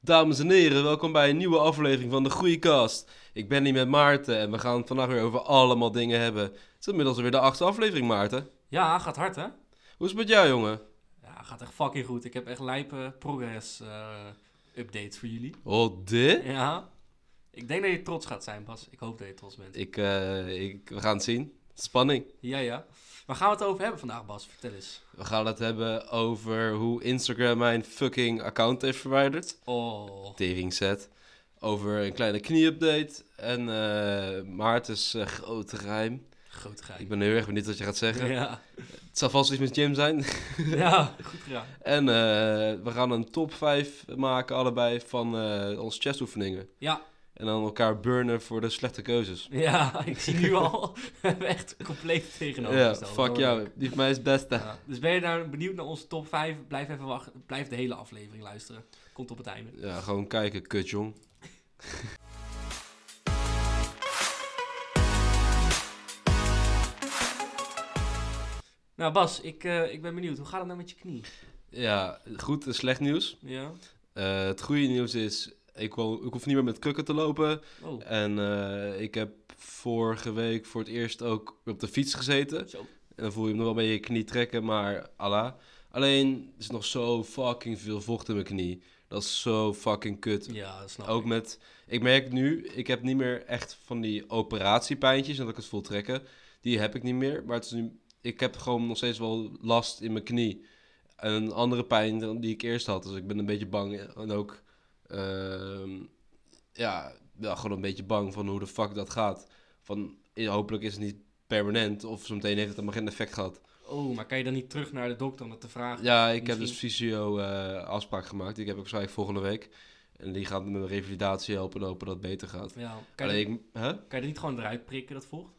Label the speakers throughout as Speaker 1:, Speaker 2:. Speaker 1: Dames en heren, welkom bij een nieuwe aflevering van de Groeikast. Ik ben hier met Maarten en we gaan het vandaag weer over allemaal dingen hebben. Het is inmiddels weer de achtste aflevering, Maarten.
Speaker 2: Ja, gaat hard hè?
Speaker 1: Hoe is het met jou, jongen?
Speaker 2: Ja, gaat echt fucking goed. Ik heb echt lijpe progress eh, updates voor jullie.
Speaker 1: Oh, dit?
Speaker 2: Ja. Ik denk dat je trots gaat zijn, Bas. Ik hoop dat je trots bent.
Speaker 1: Ik, eh, ik, we gaan het zien. Spanning.
Speaker 2: Ja, ja. Waar gaan we het over hebben vandaag, Bas? Vertel eens.
Speaker 1: We gaan het hebben over hoe Instagram mijn fucking account heeft verwijderd.
Speaker 2: Oh.
Speaker 1: Tering set. Over een kleine knie-update. En eh Maarten's eh, grote geheim.
Speaker 2: Groot
Speaker 1: Ik
Speaker 2: geheim.
Speaker 1: ben heel erg benieuwd wat je gaat zeggen.
Speaker 2: Ja.
Speaker 1: Het zal vast iets met Jim zijn.
Speaker 2: ja, goed gedaan.
Speaker 1: En eh, we gaan een top 5 maken, allebei, van eh onze chessoefeningen.
Speaker 2: Ja.
Speaker 1: En dan elkaar burnen voor de slechte keuzes.
Speaker 2: Ja, ik zie nu al. We hebben echt compleet
Speaker 1: Ja,
Speaker 2: tegenovergesteld.
Speaker 1: fuck jou. Die is mij is het beste.
Speaker 2: Ja. Dus ben je nou benieuwd naar onze top 5? Blijf even wachten. Blijf de hele aflevering luisteren. Komt op het einde.
Speaker 1: Ja, gewoon kijken, kut jong.
Speaker 2: Nou, Bas, ik, eh, ik ben benieuwd. Hoe gaat het nou met je knie?
Speaker 1: Ja, goed en slecht nieuws.
Speaker 2: Ja.
Speaker 1: Eh, het goede nieuws is, ik, wo- ik hoef niet meer met krukken te lopen.
Speaker 2: Oh.
Speaker 1: En eh, ik heb vorige week voor het eerst ook op de fiets gezeten.
Speaker 2: Zo.
Speaker 1: En dan voel je hem nog wel bij je knie trekken, maar Allah. Alleen, er is nog zo fucking veel vocht in mijn knie. Dat is zo fucking kut.
Speaker 2: Ja, dat snap
Speaker 1: Ook
Speaker 2: ik.
Speaker 1: met, ik merk nu, ik heb niet meer echt van die operatiepijntjes, dat ik het voel trekken. Die heb ik niet meer, maar het is nu, ik heb gewoon nog steeds wel last in mijn knie. En een andere pijn dan die ik eerst had, dus ik ben een beetje bang en ook, ehm, ja, ja, gewoon een beetje bang van hoe de fuck dat gaat. Van, eh, hopelijk is het niet permanent of zometeen heeft het helemaal geen effect gehad.
Speaker 2: Oh, maar kan je dan niet terug naar de dokter om dat te vragen?
Speaker 1: Ja, ik heb dus
Speaker 2: misschien-
Speaker 1: fysio eh, afspraak gemaakt, die heb ik waarschijnlijk volgende week. En die gaat me revalidatie helpen en hopen dat het beter gaat.
Speaker 2: Ja, kan, je,
Speaker 1: Alleen, ik- hè?
Speaker 2: kan je er niet gewoon eruit prikken, dat vocht?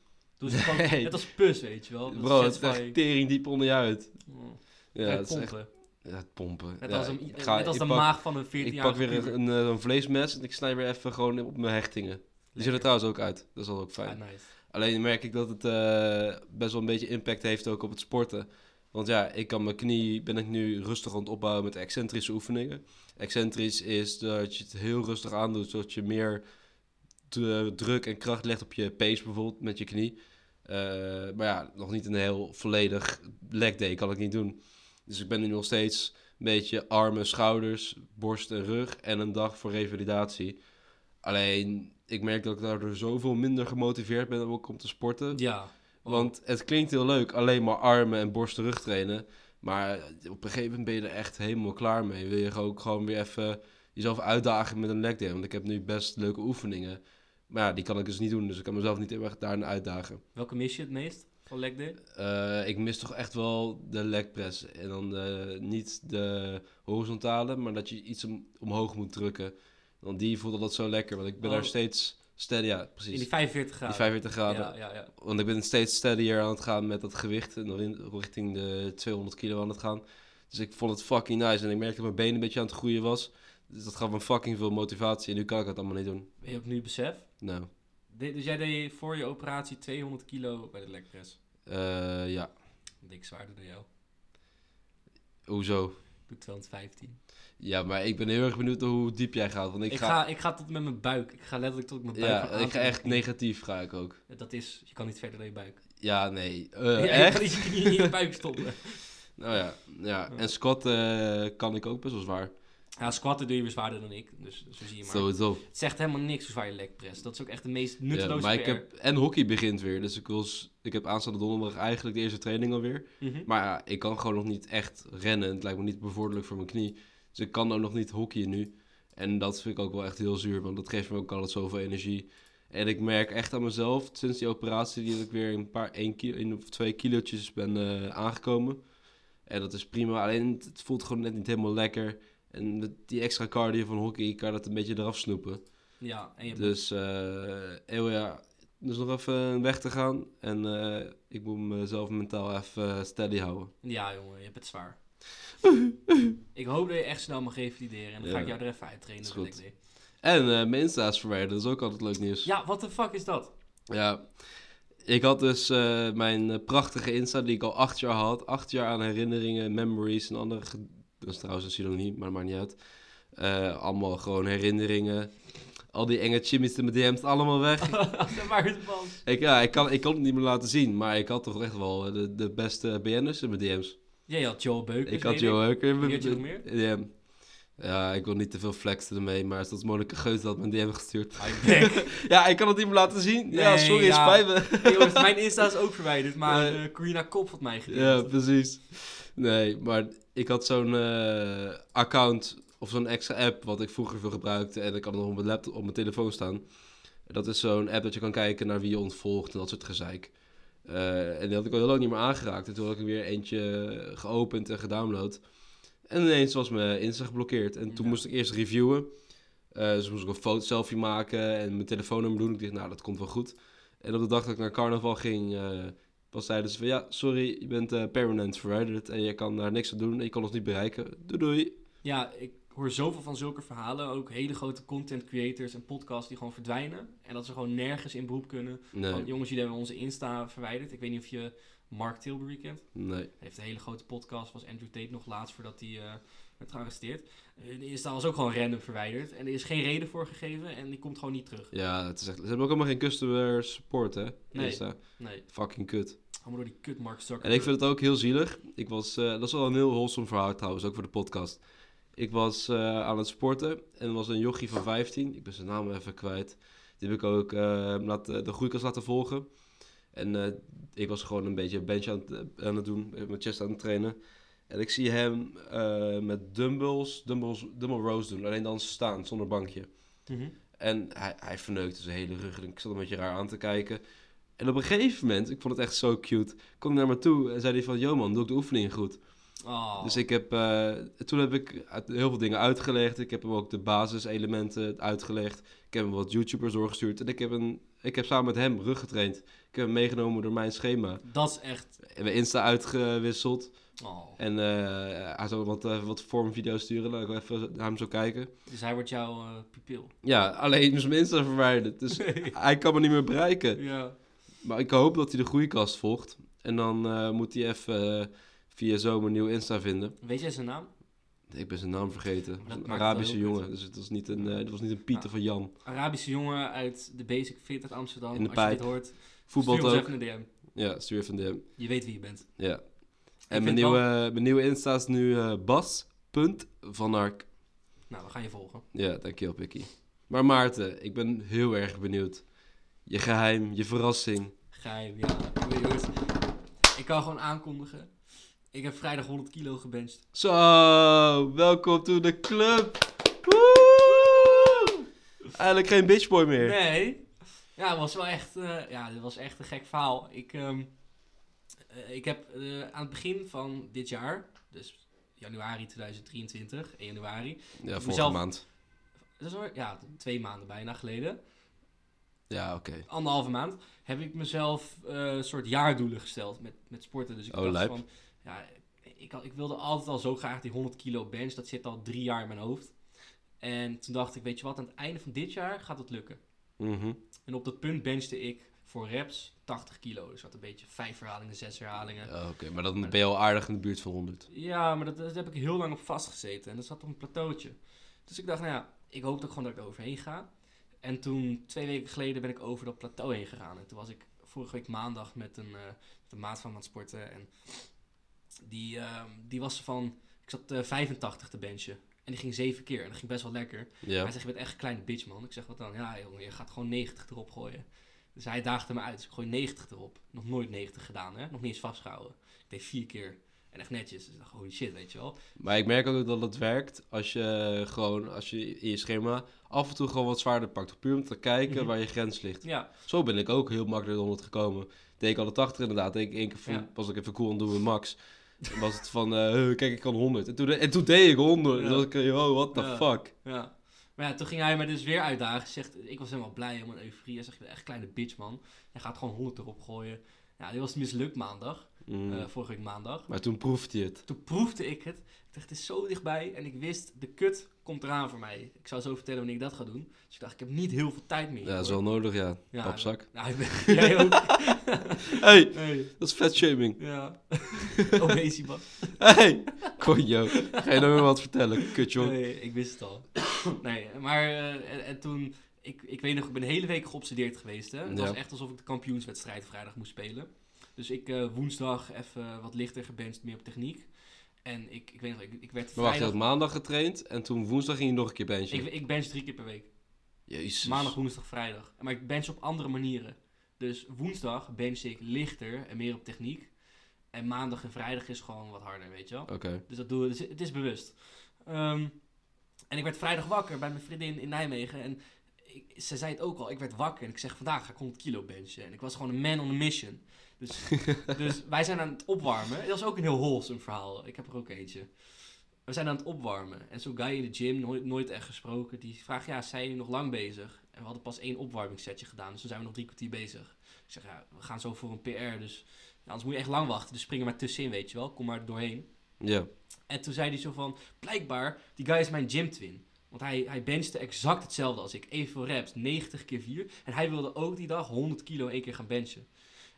Speaker 2: Doe ze gewoon,
Speaker 1: Nee.
Speaker 2: net als pus, weet je wel. Dat
Speaker 1: Bro, het
Speaker 2: zet
Speaker 1: is
Speaker 2: van je-
Speaker 1: echt tering diep onder je huid.
Speaker 2: Oh,
Speaker 1: Ja,
Speaker 2: eruit
Speaker 1: het is echt
Speaker 2: pompen.
Speaker 1: ja, het pompen.
Speaker 2: Net
Speaker 1: Ja,
Speaker 2: als, een,
Speaker 1: ik
Speaker 2: net
Speaker 1: ga-
Speaker 2: als
Speaker 1: ik
Speaker 2: de
Speaker 1: pak-
Speaker 2: maag van een 14
Speaker 1: Ik
Speaker 2: jaar.
Speaker 1: pak weer een, een, eh, een vleesmes en ik snij weer even gewoon op mijn hechtingen. Die zullen trouwens ook uit. Dat is al ook fijn.
Speaker 2: Ah, nice.
Speaker 1: Alleen merk ik dat het eh, best wel een beetje impact heeft ook op het sporten. Want ja, ik kan mijn knie, ben ik nu rustig aan het opbouwen met excentrische oefeningen. Excentrisch is dat je het heel rustig aandoet, zodat je meer de druk en kracht legt op je pees bijvoorbeeld met je knie. Eh, maar ja, nog niet een heel volledig leg day kan ik niet doen. Dus ik ben nu nog steeds een beetje armen, schouders, borst en rug en een dag voor revalidatie. Alleen, ik merk dat ik daardoor zoveel minder gemotiveerd ben om ook om te sporten.
Speaker 2: Ja. Oh.
Speaker 1: Want het klinkt heel leuk, alleen maar armen en borst en rug trainen. Maar op een gegeven moment ben je er echt helemaal klaar mee. Wil je ook gewoon weer even jezelf uitdagen met een leg day. Want ik heb nu best leuke oefeningen. Maar ja, die kan ik dus niet doen. Dus ik kan mezelf niet heel erg daarin uitdagen.
Speaker 2: Welke mis je het meest van leg day?
Speaker 1: Eh, ik mis toch echt wel de leg press. En dan de- niet de horizontale, maar dat je iets om- omhoog moet drukken. Want die voelde dat zo lekker. Want ik ben
Speaker 2: Oh.
Speaker 1: daar steeds steady, ja precies.
Speaker 2: In die 45
Speaker 1: die
Speaker 2: graden.
Speaker 1: 45 graden.
Speaker 2: Ja, ja, ja.
Speaker 1: Want ik ben steeds steadier aan het gaan met dat gewicht. En rin- richting de 200 kilo aan het gaan. Dus ik vond het fucking nice. En ik merkte dat mijn been een beetje aan het groeien was. Dus dat gaf me fucking veel motivatie. En nu kan ik dat allemaal niet doen.
Speaker 2: Ben je ook nu besef?
Speaker 1: Nou,
Speaker 2: De- Dus jij deed voor je operatie 200 kilo bij de leg press.
Speaker 1: eh, ja.
Speaker 2: Dik zwaarder dan jou.
Speaker 1: Hoezo?
Speaker 2: Ik doe 215.
Speaker 1: Ja, maar ik ben heel erg benieuwd hoe diep jij gaat. Want
Speaker 2: Ik,
Speaker 1: ik,
Speaker 2: ga... ik ga tot met mijn buik. Ik ga letterlijk tot mijn buik.
Speaker 1: ja,
Speaker 2: van
Speaker 1: ik ga
Speaker 2: aantal-
Speaker 1: echt negatief ga ik ook.
Speaker 2: Dat is, je kan niet verder dan je buik.
Speaker 1: Ja, nee. Eh,
Speaker 2: Ja, je
Speaker 1: echt?
Speaker 2: kan niet je knieën in je buik stoppen.
Speaker 1: Nou ja, ja. En Scott kan ik ook best wel zwaar.
Speaker 2: Ja, squatten doe je weer zwaarder dan ik. Dus zo zie je maar.
Speaker 1: Sowieso.
Speaker 2: Het zegt helemaal niks hoe zwaar je leg press. Dat is ook echt de meest
Speaker 1: Ja,
Speaker 2: nutteloze
Speaker 1: maar ik
Speaker 2: PR.
Speaker 1: heb, en hockey begint weer. Dus ik, wil, s- ik heb aanstaande donderdag eigenlijk de eerste training alweer.
Speaker 2: Mhm.
Speaker 1: Maar ja, ik kan gewoon nog niet echt rennen. Het lijkt me niet bevorderlijk voor mijn knie. Dus ik kan ook nog niet hockeyen nu. En dat vind ik ook wel echt heel zuur, want dat geeft me ook altijd zoveel energie. En ik merk echt aan mezelf, sinds die operatie, die dat ik weer een paar, één kilo, één of twee kilootjes ben eh, aangekomen. En dat is prima, alleen het- het voelt gewoon net niet helemaal lekker. En met die extra cardio van hockey kan je dat een beetje eraf snoepen.
Speaker 2: Ja, en je
Speaker 1: Dus, eh oh ja, dus nog even een weg te gaan. En eh, ik moet mezelf mentaal even eh, steady houden.
Speaker 2: Ja, jongen, je hebt het zwaar. ik hoop dat je echt snel mag revalideren. En dan ga
Speaker 1: Ja.
Speaker 2: ik jou er even uit trainen.
Speaker 1: Is
Speaker 2: dat
Speaker 1: goed.
Speaker 2: ik deed.
Speaker 1: En eh mijn Insta is verwijderd, dat is ook altijd leuk nieuws. Ja,
Speaker 2: Ja, wat de fuck is dat?
Speaker 1: ik had dus eh, mijn eh, prachtige Insta die ik al acht jaar had. Acht jaar aan herinneringen, memories en andere... ge- Dat is trouwens een synoniem, maar dat maakt niet uit. Eh, allemaal gewoon herinneringen. Al die enge chimmies in mijn DM's, allemaal weg.
Speaker 2: dat maakt het pas.
Speaker 1: ik, ja, ik, kan, ik kan het niet meer laten zien, maar ik had toch echt wel eh, de, de beste BN'ers in mijn DM's.
Speaker 2: Jij had Joe Beuk.
Speaker 1: Ik had Joe ook in mijn
Speaker 2: Wie had je nog meer?
Speaker 1: DM. Ja, ik wil niet te veel flexen ermee, maar zoals Monika Geus had mijn DM gestuurd. Ja, ik kan het niet meer laten zien. ja,
Speaker 2: Nee,
Speaker 1: sorry,
Speaker 2: ja.
Speaker 1: spijt me.
Speaker 2: Jongens, mijn Insta is ook verwijderd, maar
Speaker 1: Nee.
Speaker 2: eh, Corina Kop had mij
Speaker 1: Ja,
Speaker 2: gedeeld.
Speaker 1: precies. Nee, maar ik had zo'n eh, account of zo'n extra app wat ik vroeger veel gebruikte en ik had nog op mijn laptop op mijn telefoon staan. Dat is zo'n app dat je kan kijken naar wie je ontvolgt en dat soort gezeik. Eh, en die had ik al heel lang niet meer aangeraakt. En toen had ik er weer eentje geopend en gedownload. En ineens was mijn Insta geblokkeerd. En toen
Speaker 2: Ja.
Speaker 1: moest ik eerst reviewen. Eh, dus moest ik een foto selfie maken en mijn telefoonnummer doen. Ik dacht, nou, dat komt wel goed. En op de dag dat ik naar carnaval ging, eh, pas zeiden ze van... Ja, sorry, je bent eh, permanent verwijderd en je kan daar niks aan doen. En je kan ons niet bereiken. Doei doei.
Speaker 2: Ja, ik hoor zoveel van zulke verhalen. Ook hele grote content creators en podcasts die gewoon verdwijnen. En dat ze gewoon nergens in beroep kunnen.
Speaker 1: Nee,
Speaker 2: Van, jongens, jullie hebben onze Insta verwijderd. Ik weet niet of je Mark Tilbury kent.
Speaker 1: nee.
Speaker 2: Hij heeft een hele grote podcast. Was Andrew Tate nog laatst voordat hij eh, werd gearresteerd. Hun Insta was ook gewoon random verwijderd. En er is geen reden voor gegeven. En die komt gewoon niet terug.
Speaker 1: Ja, het is echt... Ze hebben ook helemaal geen customer support, hè?
Speaker 2: Nee.
Speaker 1: Insta.
Speaker 2: Nee,
Speaker 1: Fucking kut.
Speaker 2: allemaal door die kut Mark Zuckerberg.
Speaker 1: En ik vind het ook heel zielig. Ik was, eh, dat is wel een heel wholesome verhaal trouwens, ook voor de podcast. Ik was eh, aan het sporten en er was een jochie van 15. Ik ben zijn naam even kwijt. Die heb ik ook eh, laten, de groeikast laten volgen. En eh, ik was gewoon een beetje bench aan het, eh, aan het doen, mijn chest aan het trainen. En ik zie hem eh, met dumbbells, dumbbells, dumbbell rows doen. Alleen dan staan, zonder bankje.
Speaker 2: Mhm.
Speaker 1: En hij, hij verneukte zijn hele rug. En ik zat een beetje raar aan te kijken. En op een gegeven moment, ik vond het echt zo cute, kwam hij naar me toe en zei hij van, yo man, doe ik de oefening goed.
Speaker 2: Oh.
Speaker 1: Dus ik heb, eh, toen heb ik uit- heel veel dingen uitgelegd. Ik heb hem ook de basiselementen uitgelegd. Ik heb hem wat YouTubers doorgestuurd. En ik heb, een, ik heb samen met hem rug getraind. Ik heb hem meegenomen door mijn schema.
Speaker 2: Dat is echt...
Speaker 1: En we Insta uitgewisseld.
Speaker 2: Oh.
Speaker 1: En eh, hij zou wat, eh, wat vormvideo's sturen. Laat ik wel even naar hem zo kijken.
Speaker 2: Dus hij wordt jouw eh, pupil.
Speaker 1: Ja, alleen is mijn Insta verwijderd. Dus hij kan me niet meer bereiken.
Speaker 2: Ja.
Speaker 1: Maar ik hoop dat hij de groeikast volgt. En dan eh, moet hij even eh, via zo mijn nieuw Insta vinden.
Speaker 2: Weet jij zijn naam?
Speaker 1: Ik ben zijn naam vergeten. Het was
Speaker 2: maakt
Speaker 1: een
Speaker 2: het wel
Speaker 1: Arabische
Speaker 2: heel
Speaker 1: jongen.
Speaker 2: kut.
Speaker 1: Dus het was niet een, eh, het was niet een Pieter
Speaker 2: Ah.
Speaker 1: van Jan.
Speaker 2: Arabische jongen uit de Basic Fit uit Amsterdam.
Speaker 1: In de
Speaker 2: Als
Speaker 1: pijp.
Speaker 2: je dit hoort,
Speaker 1: Voetbal
Speaker 2: stuur ons
Speaker 1: ook.
Speaker 2: even een DM.
Speaker 1: Ja, stuur even de.
Speaker 2: Je weet wie je bent.
Speaker 1: Ja. En
Speaker 2: vind
Speaker 1: mijn
Speaker 2: het
Speaker 1: nieuwe, eh, mijn nieuwe Insta is nu eh Bas.vanark.
Speaker 2: Nou, we gaan je volgen.
Speaker 1: Ja, dankjewel, Pikkie. Maar Maarten, ik ben heel erg benieuwd. Je geheim, je verrassing.
Speaker 2: Geheim, ja. Ik weet jongens. Ik kan gewoon aankondigen. Ik heb vrijdag 100 kilo gebenched.
Speaker 1: Zo, welkom to de club. Woe! Eigenlijk geen bitchboy meer.
Speaker 2: Nee. Ja, het was wel echt, eh, ja, dit was echt een gek verhaal. Ik, ehm, eh, ik heb eh, aan het begin van dit jaar, dus januari 2023, 1 januari.
Speaker 1: Ja, vorige
Speaker 2: mezelf-
Speaker 1: maand.
Speaker 2: Dat is alweer- ja, twee maanden bijna geleden.
Speaker 1: Ja, oké.
Speaker 2: anderhalve maand, heb ik mezelf eh, een soort jaardoelen gesteld met, met sporten. Dus ik
Speaker 1: Oh,
Speaker 2: dacht
Speaker 1: lijp.
Speaker 2: van, ja, ik, had- ik wilde altijd al zo graag die 100 kilo bench. Dat zit al drie jaar in mijn hoofd. En toen dacht ik, weet je wat, aan het einde van dit jaar gaat het lukken.
Speaker 1: Mhm.
Speaker 2: En op dat punt benchte ik voor reps 80 kilo. Dus dat een beetje vijf herhalingen, zes herhalingen.
Speaker 1: Ja, Oké, maar dan ben je al aardig in de buurt van 100.
Speaker 2: Ja, maar dat, dat heb ik heel lang op vastgezeten. En dat zat op een plateautje. Dus ik dacht, nou ja, ik hoop ook gewoon dat ik er overheen ga. En toen, twee weken geleden, ben ik over dat plateau heen gegaan. En toen was ik vorige week maandag met een, eh, met een maat van me aan het sporten. En die, ehm, die was van, ik zat eh, 85 te benchen. En die ging zeven keer. En dat ging best wel lekker.
Speaker 1: Ja.
Speaker 2: Hij zegt, je bent echt een kleine bitch, man. Ik zeg, wat dan? Ja, jongen, je gaat gewoon 90 erop gooien. Dus hij daagde me uit. Dus ik gooi 90 erop. Nog nooit 90 gedaan, hè? Nog niet eens vastgehouden. Ik deed vier keer. En echt netjes. Dus ik dacht, holy shit, weet je wel.
Speaker 1: Maar ik merk ook dat het werkt als je gewoon, als je in je schema af en toe gewoon wat zwaarder pakt. Puur om te kijken
Speaker 2: Mhm.
Speaker 1: waar je grens ligt.
Speaker 2: Ja,
Speaker 1: Zo ben ik ook heel makkelijk de 100 gekomen. Deed ik al de 80 inderdaad. Deed ik één keer van,
Speaker 2: Ja.
Speaker 1: was ik even cool aan doen met Max. En was het van, eh, hey, kijk ik kan 100. En toen, en toen deed ik 100. En
Speaker 2: Ja.
Speaker 1: toen was ik, yo, what the
Speaker 2: Ja.
Speaker 1: fuck.
Speaker 2: ja. Maar ja, toen ging hij me dus weer uitdagen. Zegt, ik was helemaal blij, helemaal in euforie. Hij zegt, je bent echt een kleine bitch, man. Hij gaat gewoon 100 erop gooien. Ja, dit was mislukt maandag.
Speaker 1: Mm.
Speaker 2: eh, vorige week maandag.
Speaker 1: maar toen proefde je het.
Speaker 2: Toen proefde ik het. Ik dacht, het is zo dichtbij. En ik wist, de kut komt eraan voor mij. Ik zou zo vertellen wanneer ik dat ga doen. Dus ik dacht, ik heb niet heel veel tijd meer.
Speaker 1: Ja, dat is wel
Speaker 2: hiervoor.
Speaker 1: nodig, ja.
Speaker 2: Ja,
Speaker 1: Papzak.
Speaker 2: Nou, ik ben- jij ook.
Speaker 1: Hey,
Speaker 2: Nee,
Speaker 1: dat is fatshaming.
Speaker 2: ja. Obesibas.
Speaker 1: Hey, konjo. Ga je nou weer wat vertellen? Kut, joh.
Speaker 2: Nee, ik wist het al. Nee, maar eh, en, en toen... Ik, ik weet nog, ik ben de hele week geobsedeerd geweest. Hè? Het
Speaker 1: Ja.
Speaker 2: was echt alsof ik de kampioenswedstrijd vrijdag moest spelen. Dus ik eh, woensdag even wat lichter gebenst, meer op techniek. En ik, ik weet nog, ik, ik werd
Speaker 1: Maar wacht, je
Speaker 2: vrijdag...
Speaker 1: had maandag getraind en toen woensdag ging je nog een keer benchen.
Speaker 2: ik, ik bench drie keer per week.
Speaker 1: Jezus.
Speaker 2: Maandag, woensdag, vrijdag. Maar ik bench op andere manieren. Dus woensdag bench ik lichter en meer op techniek. En maandag en vrijdag is gewoon wat harder, weet je wel.
Speaker 1: Oké.
Speaker 2: Dus dat doen we. Dus het is bewust. Ehm, en ik werd vrijdag wakker bij mijn vriendin in Nijmegen. En ik- ze zei het ook al. Ik werd wakker en ik zeg vandaag ga ik 100 kilo benchen. En ik was gewoon een man on a mission. Dus, dus wij zijn aan het opwarmen. Dat is ook een heel wholesome verhaal. Ik heb er ook eentje. We zijn aan het opwarmen. En zo'n guy in de gym, nooit, nooit echt gesproken, die vraagt, ja, zijn jullie nog lang bezig? En we hadden pas één opwarmingssetje gedaan, dus toen zijn we nog drie kwartier bezig. Ik zeg, ja, we gaan zo voor een PR, dus ja, anders moet je echt lang wachten. Dus spring er maar tussenin, weet je wel. Kom maar doorheen.
Speaker 1: Ja.
Speaker 2: En toen zei hij zo van, blijkbaar, die guy is mijn gym twin. Want hij, hij benchte exact hetzelfde als ik. Evenveel reps, 90 keer 4. En hij wilde ook die dag 100 kilo in één keer gaan benchen.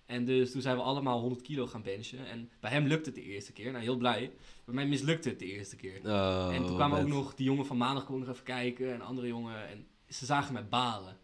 Speaker 2: En dus toen zijn we allemaal 100 kilo gaan benchen. En bij hem lukte het de eerste keer. Nou, heel blij. Bij mij mislukte het de eerste keer.
Speaker 1: Oh,
Speaker 2: en toen kwamen ook
Speaker 1: vet.
Speaker 2: nog, die jongen van maandag kwam nog even kijken. En een andere jongen. En ze zagen mij balen.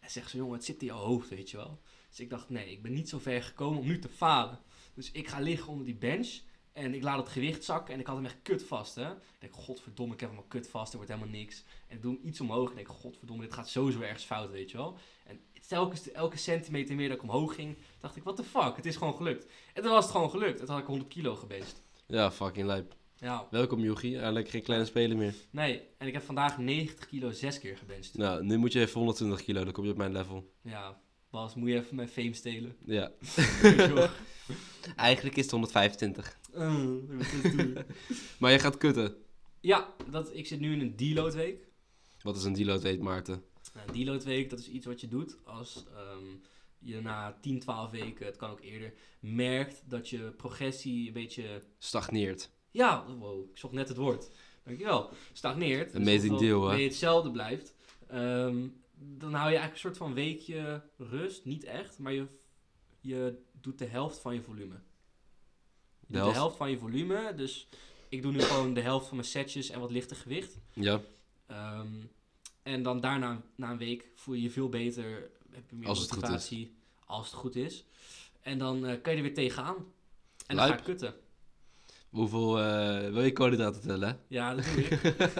Speaker 2: En zegt zo, jongen, het zit in jouw hoofd, weet je wel. Dus ik dacht, nee, ik ben niet zo ver gekomen om nu te falen. Dus ik ga liggen onder die bench. En ik laat het gewicht zakken en ik had hem echt kut vast, hè. Ik denk, godverdomme, ik heb hem al kut vast, er wordt helemaal niks. En ik doe hem iets omhoog en ik denk, godverdomme, dit gaat sowieso ergens fout, weet je wel. En telkens, elke centimeter meer dat ik omhoog ging, dacht ik, what the fuck, het is gewoon gelukt. En toen was het gewoon gelukt. En toen had ik 100 kilo gebest.
Speaker 1: Ja, fucking lijp.
Speaker 2: Ja,
Speaker 1: Welkom, Jochie. Eigenlijk geen kleine speler meer.
Speaker 2: nee. En ik heb vandaag 90 kilo zes keer gebenst.
Speaker 1: Nou, nu moet je even 120 kilo, dan kom je op mijn level.
Speaker 2: Ja, Bas, moet je even mijn fame stelen?
Speaker 1: Ja.
Speaker 2: Joh.
Speaker 1: Eigenlijk is het 125.
Speaker 2: Eh, wat is het doen?
Speaker 1: Maar je gaat kutten.
Speaker 2: ja, dat, ik zit nu in een deload week.
Speaker 1: Wat is een deload weet Maarten?
Speaker 2: Nou, een deload week, dat is iets wat je doet als ehm, je na 10, 12 weken, het kan ook eerder, merkt dat je progressie een beetje,
Speaker 1: Stagneert.
Speaker 2: ja, wow, ik zocht net het woord, dankjewel, stagneert. Dus
Speaker 1: Amazing
Speaker 2: ofwel
Speaker 1: deal, hè?
Speaker 2: Ben je hetzelfde blijft, ehm, dan hou je eigenlijk een soort van weekje rust, niet echt, maar je, je doet de helft van je volume. Je doet
Speaker 1: helft?
Speaker 2: de helft van je volume, dus ik doe nu gewoon de helft van mijn setjes en wat lichter gewicht.
Speaker 1: Ja,
Speaker 2: Ehm, en dan daarna, na een week, voel je je veel beter. Heb je meer
Speaker 1: Als het goed is.
Speaker 2: motivatie. Als het goed is. En dan eh, kan je er weer tegenaan. En dan
Speaker 1: Lijp.
Speaker 2: ga ik kutten.
Speaker 1: hoeveel eh, wil je koolhydraten tellen? hè?
Speaker 2: Ja, dat doe ik.
Speaker 1: Eh,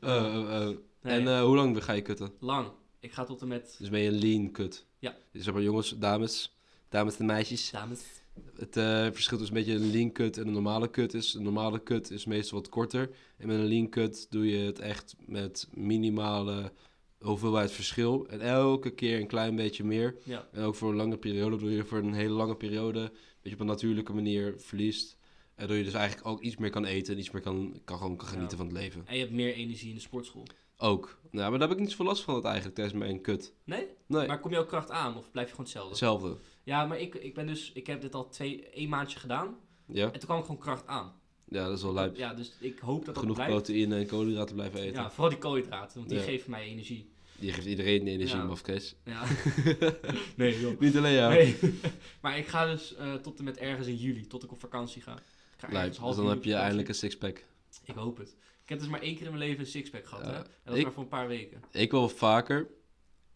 Speaker 1: eh, eh.
Speaker 2: Nee,
Speaker 1: En eh, hoe lang ga je kutten?
Speaker 2: lang. Ik ga tot en met
Speaker 1: Dus ben je een lean kut?
Speaker 2: Ja.
Speaker 1: Dus zeg maar jongens, dames, dames en meisjes.
Speaker 2: dames.
Speaker 1: Het eh, verschil tussen een beetje een lean kut en een normale kut is... een normale kut is meestal wat korter. En met een lean kut doe je het echt met minimale hoeveelheid verschil. En elke keer een klein beetje meer.
Speaker 2: Ja.
Speaker 1: En ook voor een lange periode doe je voor een hele lange periode... dat je op een natuurlijke manier verliest. En doe je dus eigenlijk ook iets meer kan eten... en iets meer kan, kan, gewoon kan genieten
Speaker 2: Ja.
Speaker 1: van het leven.
Speaker 2: En je hebt meer energie in de sportschool.
Speaker 1: Ook. Nou, maar daar heb ik niet zoveel last van dat eigenlijk tijdens mijn kut.
Speaker 2: Nee?
Speaker 1: Nee,
Speaker 2: Maar kom je ook kracht aan of blijf je gewoon hetzelfde?
Speaker 1: hetzelfde.
Speaker 2: Ja, maar ik, ik ben dus... Ik heb dit al twee, één maandje gedaan.
Speaker 1: Ja?
Speaker 2: En toen kwam ik gewoon kracht aan.
Speaker 1: ja, dat is wel lijp.
Speaker 2: Ja, dus ik hoop dat dat
Speaker 1: Genoeg
Speaker 2: blijft.
Speaker 1: proteïne en koolhydraten blijven eten.
Speaker 2: Ja, vooral die koolhydraten. Want die
Speaker 1: Ja.
Speaker 2: geven mij energie.
Speaker 1: Die geeft iedereen energie,
Speaker 2: Ja.
Speaker 1: maf Kees.
Speaker 2: Ja. nee, joh.
Speaker 1: Niet alleen jou.
Speaker 2: Nee. maar ik ga dus eh, tot en met ergens in juli, tot ik op vakantie ga. Ik ga
Speaker 1: Lijp,
Speaker 2: ergens half
Speaker 1: dus dan
Speaker 2: juli
Speaker 1: heb
Speaker 2: op
Speaker 1: je
Speaker 2: vakantie.
Speaker 1: eindelijk een sixpack.
Speaker 2: Ik hoop het. Ik heb dus maar één keer in mijn leven een sixpack gehad,
Speaker 1: Ja,
Speaker 2: hè? En dat
Speaker 1: ik-
Speaker 2: maar voor een paar weken.
Speaker 1: Ik wel vaker.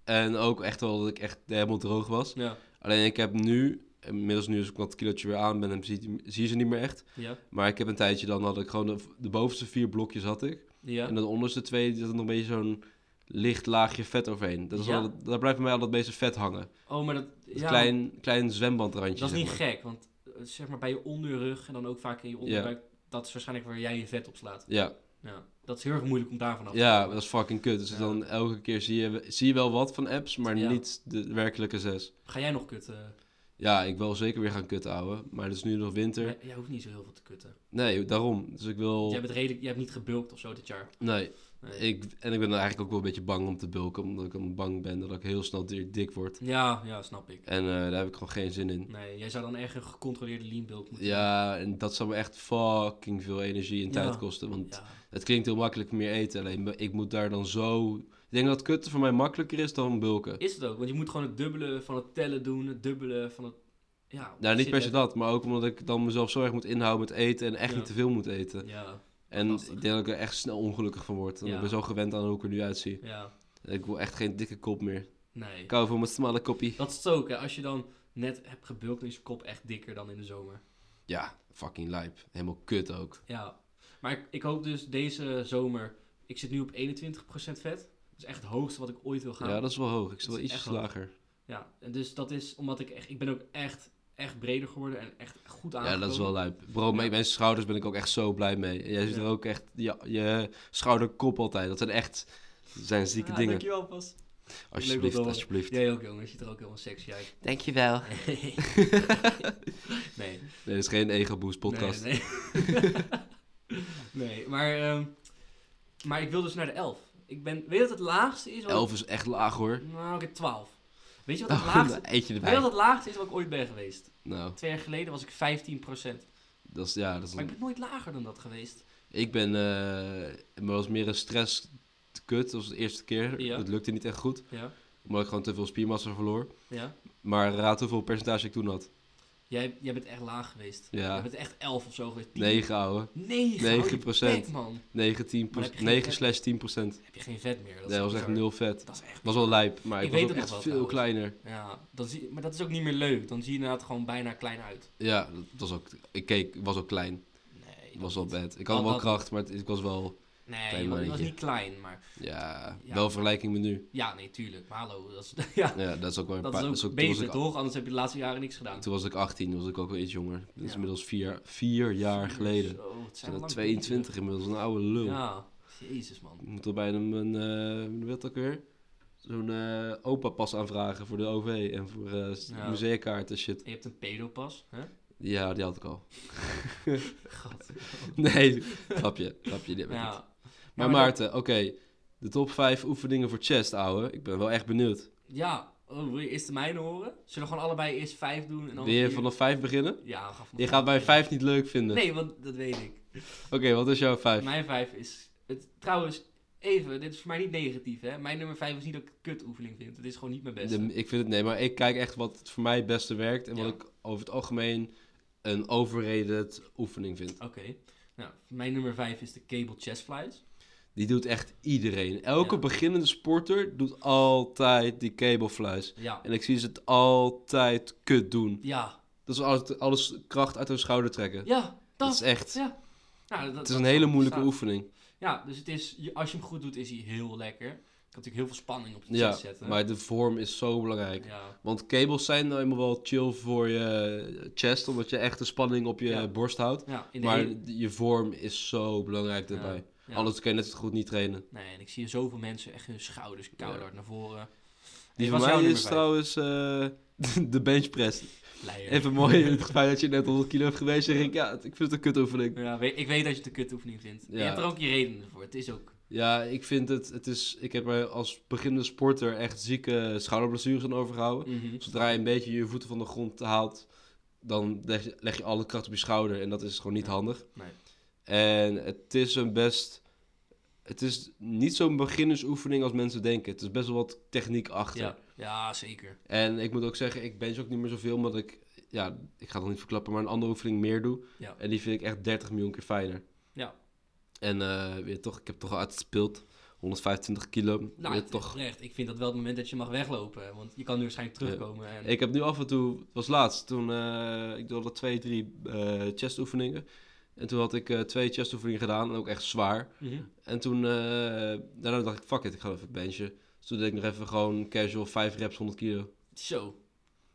Speaker 1: En ook echt wel dat ik echt helemaal droog was.
Speaker 2: Ja,
Speaker 1: Alleen ik heb nu, inmiddels nu als ik dat kilootje weer aan ben, dan zie, zie je ze niet meer echt.
Speaker 2: ja,
Speaker 1: Maar ik heb een tijdje dan had ik gewoon de, de bovenste vier blokjes had ik.
Speaker 2: ja.
Speaker 1: En de onderste twee, die had nog een beetje zo'n licht laagje vet overheen. Dat is
Speaker 2: Ja?
Speaker 1: wel, daar blijft bij mij al dat meeste vet hangen.
Speaker 2: Oh, maar dat...
Speaker 1: Dat
Speaker 2: ja,
Speaker 1: klein, klein zwembadrandje.
Speaker 2: dat is
Speaker 1: zeg
Speaker 2: niet
Speaker 1: maar.
Speaker 2: gek, want eh, zeg maar bij je onderrug en dan ook vaak in je onderbuik, dat is waarschijnlijk waar jij je vet op slaat.
Speaker 1: Ja,
Speaker 2: Ja, dat is heel erg moeilijk om daarvan af te
Speaker 1: ja,
Speaker 2: komen.
Speaker 1: dat is fucking kut. Dus
Speaker 2: Ja.
Speaker 1: dan elke keer zie je, zie je wel wat van apps, maar
Speaker 2: Ja.
Speaker 1: niet de werkelijke zes.
Speaker 2: Ga jij nog kutten?
Speaker 1: Ja, ik wil zeker weer gaan kutten, ouwe. Maar het is nu nog winter.
Speaker 2: Jij, jij hoeft niet zo heel veel te kutten.
Speaker 1: Nee, daarom. Dus ik wil...
Speaker 2: Jij, bent redelijk, jij hebt niet gebulkt of zo dit jaar.
Speaker 1: Nee.
Speaker 2: Nee.
Speaker 1: Ik, en ik ben eigenlijk ook wel een beetje bang om te bulken. Omdat ik dan bang ben dat ik heel snel di- dik word.
Speaker 2: Ja, ja, snap ik.
Speaker 1: En eh, daar heb ik gewoon geen zin in.
Speaker 2: Nee, jij zou dan echt een gecontroleerde lean bulk moeten
Speaker 1: Ja, en dat zou me echt fucking veel energie en
Speaker 2: Ja.
Speaker 1: tijd kosten. Want
Speaker 2: Ja.
Speaker 1: het klinkt heel makkelijk meer eten. Alleen me- ik moet daar dan zo... Ik denk dat kutten voor mij makkelijker is dan bulken.
Speaker 2: Is het ook, want je moet gewoon het dubbele van het tellen doen, het dubbele van het... Ja,
Speaker 1: Nou, niet
Speaker 2: shit,
Speaker 1: per se
Speaker 2: hè.
Speaker 1: dat, maar ook omdat ik dan mezelf zo erg moet inhouden met eten en echt
Speaker 2: Ja.
Speaker 1: niet te veel moet eten.
Speaker 2: Ja,
Speaker 1: En
Speaker 2: lastig.
Speaker 1: ik denk dat ik er echt snel ongelukkig van word. En
Speaker 2: Ja.
Speaker 1: Ik ben zo gewend aan hoe ik er nu uitzie.
Speaker 2: ja,
Speaker 1: Ik wil echt geen dikke kop meer.
Speaker 2: nee.
Speaker 1: Ik hou van mijn smalle koppie.
Speaker 2: Dat is het ook, hè. Als je dan net hebt gebulkt, dan is je kop echt dikker dan in de zomer.
Speaker 1: Ja, fucking lijp. Helemaal kut ook.
Speaker 2: Ja. Maar ik, ik hoop dus deze zomer... Ik zit nu op 21% vet. Dat is echt het hoogste wat ik ooit wil gaan.
Speaker 1: Ja, dat is wel hoog. Ik
Speaker 2: Dat
Speaker 1: stel
Speaker 2: is
Speaker 1: wel ietsjes
Speaker 2: echt hoog.
Speaker 1: lager.
Speaker 2: Ja, en dus dat is omdat ik echt... Ik ben ook echt, echt breder geworden en echt goed
Speaker 1: Ja,
Speaker 2: aangekomen.
Speaker 1: dat is wel lijp. Bro, met
Speaker 2: Ja.
Speaker 1: mijn schouders ben ik ook echt zo blij mee. En jij ziet
Speaker 2: Ja.
Speaker 1: er ook echt... Ja, je schouderkop altijd. Dat zijn echt... dat zijn zieke
Speaker 2: Ah,
Speaker 1: dingen.
Speaker 2: Dankjewel, Bas.
Speaker 1: Alsjeblieft,
Speaker 2: wel.
Speaker 1: alsjeblieft.
Speaker 2: Jij ook, jongen. Je ziet er ook helemaal sexy uit.
Speaker 1: Dankjewel.
Speaker 2: nee. nee.
Speaker 1: Nee, dit is geen Ego Boost podcast.
Speaker 2: Nee, nee. Nee, maar, ehm, maar ik wil dus naar de 11. Ik ben, weet je wat het laagste is? wat-
Speaker 1: 11 is echt laag hoor.
Speaker 2: Nou, oké, 12. Weet je wat het
Speaker 1: Oh,
Speaker 2: laagste...
Speaker 1: eentje
Speaker 2: Weet je wat
Speaker 1: erbij.
Speaker 2: het laagste is wat ik ooit ben geweest?
Speaker 1: Nou,
Speaker 2: Twee jaar geleden was ik 15%.
Speaker 1: dat is... Ja, dat is
Speaker 2: Maar ik ben nooit lager dan dat geweest.
Speaker 1: Ik ben, eh maar was meer een stress kut, was de eerste keer.
Speaker 2: Ja.
Speaker 1: Dat lukte niet echt goed,
Speaker 2: Ja,
Speaker 1: omdat ik gewoon te veel spiermassa verloor.
Speaker 2: ja.
Speaker 1: Maar raad hoeveel percentage ik toen had.
Speaker 2: Jij, jij bent echt laag geweest.
Speaker 1: Ja.
Speaker 2: Jij bent echt 11 of zo geweest. 10.
Speaker 1: 9 ouwe.
Speaker 2: 9?
Speaker 1: Negen
Speaker 2: 9
Speaker 1: procent.
Speaker 2: man.
Speaker 1: 9, 10
Speaker 2: Maar heb je geen
Speaker 1: 9
Speaker 2: vet?
Speaker 1: slash 10 procent.
Speaker 2: Heb je geen vet meer. Dat,
Speaker 1: Dat,
Speaker 2: is
Speaker 1: was echt
Speaker 2: bizar.
Speaker 1: nul vet.
Speaker 2: Dat is echt...
Speaker 1: was wel lijp, maar ik,
Speaker 2: Ik
Speaker 1: was
Speaker 2: weet
Speaker 1: ook
Speaker 2: het nog
Speaker 1: echt
Speaker 2: wel
Speaker 1: veel
Speaker 2: trouwens.
Speaker 1: kleiner.
Speaker 2: Ja, dan zie, maar dat is ook niet meer leuk. Dan zie je inderdaad gewoon bijna klein uit.
Speaker 1: Ja, dat was ook, ik keek, ik was ook klein.
Speaker 2: Nee.
Speaker 1: Ik
Speaker 2: dat
Speaker 1: was wel
Speaker 2: niet.
Speaker 1: bad. Ik
Speaker 2: Dat-
Speaker 1: had wel
Speaker 2: dat-
Speaker 1: kracht, maar het, ik was wel,
Speaker 2: Nee,
Speaker 1: Klein
Speaker 2: je was- je was
Speaker 1: mannetje.
Speaker 2: niet klein, maar...
Speaker 1: ja,
Speaker 2: Ja.
Speaker 1: wel vergelijking met nu.
Speaker 2: Ja, nee, tuurlijk. Maar hallo, dat is, ja,
Speaker 1: Ja, dat is ook wel een
Speaker 2: dat
Speaker 1: paar.
Speaker 2: is ook
Speaker 1: dat is ook- toen, was
Speaker 2: beter,
Speaker 1: ik,
Speaker 2: toch? Anders heb je de laatste jaren niks gedaan.
Speaker 1: toen was ik 18, was ik ook wel iets jonger. Dat is
Speaker 2: Ja.
Speaker 1: inmiddels 4 vier jaar geleden.
Speaker 2: Zo, het zijn
Speaker 1: Zijn dat
Speaker 2: lang
Speaker 1: 22 inmiddels, een oude lul.
Speaker 2: geleden. Ja, jezus, man.
Speaker 1: Ik moet er bijna een, eh hoe heet dat ook weer? Zo'n eh, opa-pas aanvragen voor de OV en voor eh s-
Speaker 2: Ja.
Speaker 1: museumkaart en shit.
Speaker 2: Je hebt een pedopas, hè?
Speaker 1: Ja, die had ik al.
Speaker 2: Gat.
Speaker 1: nee, grapje, grapje, die heb ik niet.
Speaker 2: Ja.
Speaker 1: Maar
Speaker 2: maar
Speaker 1: Maarten, oké, de top 5 oefeningen voor chest, ouwe. Ik ben wel echt benieuwd.
Speaker 2: Ja, oh, wil je eerst de mijne horen? Zullen we gewoon allebei eerst vijf doen en dan...
Speaker 1: Wil je
Speaker 2: vier?
Speaker 1: vanaf 5 beginnen?
Speaker 2: Ja, gaf
Speaker 1: Je gaat dus. mijn 5 niet leuk vinden.
Speaker 2: Nee, want dat weet ik.
Speaker 1: Oké, wat is jouw 5?
Speaker 2: Mijn vijf is... Het, trouwens, even, dit is voor mij niet negatief, hè? Mijn nummer vijf is niet dat ik het een kutoefening vind. Het is gewoon niet mijn beste.
Speaker 1: Ik vind het, nee, maar ik kijk echt wat het voor mij het beste werkt en
Speaker 2: Ja.
Speaker 1: wat ik over het algemeen een overrated oefening vind.
Speaker 2: Oké. Nou, mijn nummer vijf is de cable chest flies.
Speaker 1: Die doet echt iedereen. Elke
Speaker 2: Ja.
Speaker 1: beginnende sporter doet altijd die kabelfluis.
Speaker 2: Ja.
Speaker 1: En ik zie ze het altijd kut doen.
Speaker 2: Ja.
Speaker 1: Dat is alles, alles kracht uit hun schouder trekken.
Speaker 2: Ja, dat,
Speaker 1: Dat is echt.
Speaker 2: Ja. Nou, dat-
Speaker 1: Het is
Speaker 2: dat
Speaker 1: een hele
Speaker 2: zou
Speaker 1: moeilijke
Speaker 2: bestaan.
Speaker 1: oefening.
Speaker 2: Ja, dus het is, je- als je hem goed doet, is hij heel lekker. Ik had natuurlijk heel veel spanning op de
Speaker 1: Ja,
Speaker 2: chest zetten.
Speaker 1: maar de vorm is zo belangrijk.
Speaker 2: ja,
Speaker 1: Want kabels zijn nou eenmaal wel chill voor je chest, omdat je echt de spanning op je
Speaker 2: Ja.
Speaker 1: borst houdt.
Speaker 2: ja, in de
Speaker 1: Maar
Speaker 2: hele-
Speaker 1: je vorm is zo belangrijk
Speaker 2: Ja,
Speaker 1: daarbij.
Speaker 2: ja.
Speaker 1: Anders kun je net zo goed niet trainen.
Speaker 2: Nee, en ik zie zoveel mensen echt hun schouders koud
Speaker 1: Ja.
Speaker 2: hard naar voren.
Speaker 1: Die
Speaker 2: was
Speaker 1: van
Speaker 2: jouw
Speaker 1: mij
Speaker 2: nummer
Speaker 1: is
Speaker 2: vijf?
Speaker 1: trouwens eh, de bench press.
Speaker 2: Leier.
Speaker 1: Even mooi, het feit dat je net 100 kilo hebt geweest. Zeg ik, ja, ik vind het een kutoefening.
Speaker 2: Ja, weet- ik weet dat je het een kutoefening vindt. En Je
Speaker 1: Ja.
Speaker 2: hebt er ook je redenen voor. Het is ook...
Speaker 1: Ja, ik vind het, het is, ik heb er als beginnende sporter echt zieke schouderblessures aan overgehouden.
Speaker 2: Mhm.
Speaker 1: Zodra je een beetje je voeten van de grond haalt, dan leg je, leg je alle kracht op je schouder. En dat is gewoon niet
Speaker 2: Ja.
Speaker 1: handig.
Speaker 2: Nee.
Speaker 1: En het is een best, het is niet zo'n beginnersoefening als mensen denken. Het is best wel wat techniek achter.
Speaker 2: Ja. ja, zeker.
Speaker 1: En ik moet ook zeggen, ik bench ook niet meer zoveel, omdat ik, ja, ik ga het nog niet verklappen, maar een andere oefening meer doe.
Speaker 2: Ja.
Speaker 1: En die vind ik echt 30 miljoen keer fijner.
Speaker 2: Ja.
Speaker 1: En eh weer toch, ik heb toch al uitgespeeld, 125 kilo.
Speaker 2: Nou,
Speaker 1: Weer
Speaker 2: het-
Speaker 1: toch.
Speaker 2: oprecht, ik vind dat wel het moment dat je mag weglopen. Want je kan nu waarschijnlijk terugkomen. En...
Speaker 1: Ik heb nu af en toe, het was laatst, toen eh, ik deed al twee, drie eh chest oefeningen. En toen had ik eh, twee chest oefeningen gedaan, en ook echt zwaar.
Speaker 2: Mhm.
Speaker 1: En toen, eh, daarna dacht ik, fuck it, ik ga even benchen. Dus toen deed ik nog even gewoon casual 5 reps 100 kilo.
Speaker 2: Zo.